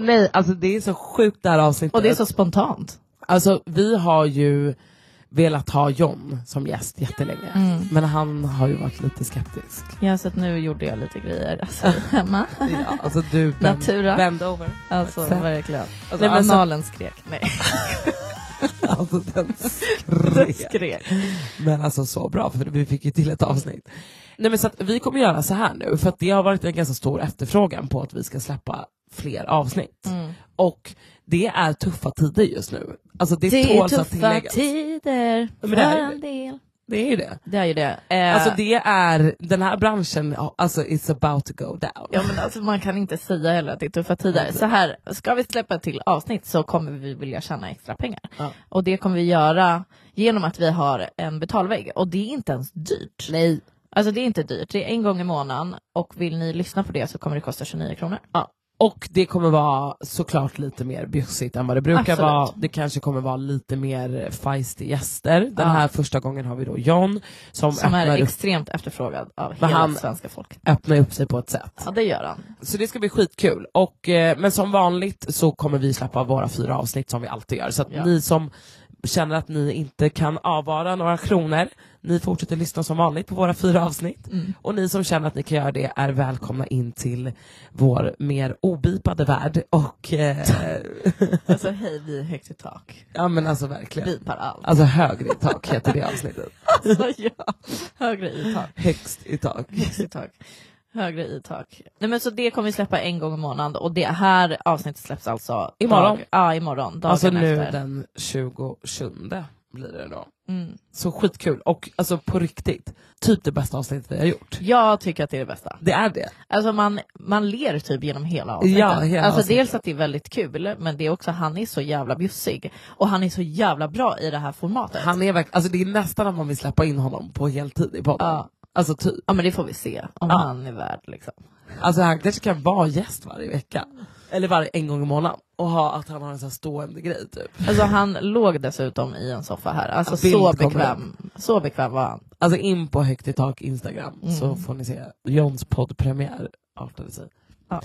nej, alltså det är så sjukt det här avsnittet. Och det är så spontant. Alltså vi har ju velat ha John som gäst jättelänge. Mm. Men han har ju varit lite skeptisk. Ja, så att nu gjorde jag lite grejer alltså, hemma. Ja, alltså du Natura. vände over. Alltså Så- verkligen. Alltså, Nej, men så- analen skrek. Nej, Alltså den den skrek. skrek. Men alltså så bra för vi fick ju till ett avsnitt. Nej men så att vi kommer göra så här nu för att det har varit en ganska stor efterfrågan på att vi ska släppa fler avsnitt. Mm. Och det är tuffa tider just nu. Alltså det, Det är tåls att tuffa tilläggas. tider Men för det är det. en del. Det är ju det. Det är ju det. Eh, Alltså det är, den här branschen, alltså it's about to go down. Ja men alltså man kan inte säga heller att det är tuffa tider. Så här, ska vi släppa ett till avsnitt så kommer vi vilja tjäna extra pengar. Ja. Och det kommer vi göra genom att vi har en betalvägg. Och det är inte ens dyrt. Nej. Alltså det är inte dyrt, det är en gång i månaden och vill ni lyssna på det så kommer det kosta 29 kronor. Ja. Och det kommer vara såklart lite mer bjussigt än vad det brukar Absolut. vara. Det kanske kommer vara lite mer feisty gäster. Den Ja. här första gången har vi då John som, Som är öppnar, upp, extremt efterfrågad av Men hela han- svenska folket. öppnar upp sig på ett sätt. Ja det gör han. Så det ska bli skitkul. Och, eh, men som vanligt så kommer vi släppa våra fyra avsnitt som vi alltid gör. Så att Ja. ni som känner att ni inte kan avvara några kronor, ni fortsätter lyssna som vanligt på våra fyra avsnitt. Mm. Och ni som känner att ni kan göra det är välkomna in till vår mer obipade värld. Och eh, Alltså hej vi är högt i tak. ja men alltså verkligen. Bipar allt. Alltså högre i tak heter det avsnittet. Alltså ja, högre i tak. Högst i tak. Högst i tak. Högre i tak. Nej men så det kommer vi släppa en gång i månaden och det här avsnittet släpps alltså Imorgon. Dag, ja imorgon, dagen Alltså nu efter. den 27 blir det då. Mm. Så skitkul och alltså på riktigt, typ det bästa avsnittet vi har gjort. Jag tycker att det är det bästa. Det är det. Alltså man, man ler typ genom hela avsnittet. Ja, hela alltså avsnittet. dels att det är väldigt kul men det är också han är så jävla bjussig och han är så jävla bra i det här formatet. Han är verkligen, alltså det är nästan att man vill släppa in honom på heltid i podden. Ja. Alltså typ. Ja men det får vi se om Ja. han är värd liksom. Alltså han kanske kan vara gäst varje vecka. Eller varje en gång i månaden. Och ha, att han har en sån här stående grej typ. Alltså han låg dessutom i en soffa här, alltså Ja, bild så kommer bekväm. Så bekväm var han. Alltså in på Högt i tak Instagram så får ni se Johns poddpremiär artade sig. Ja.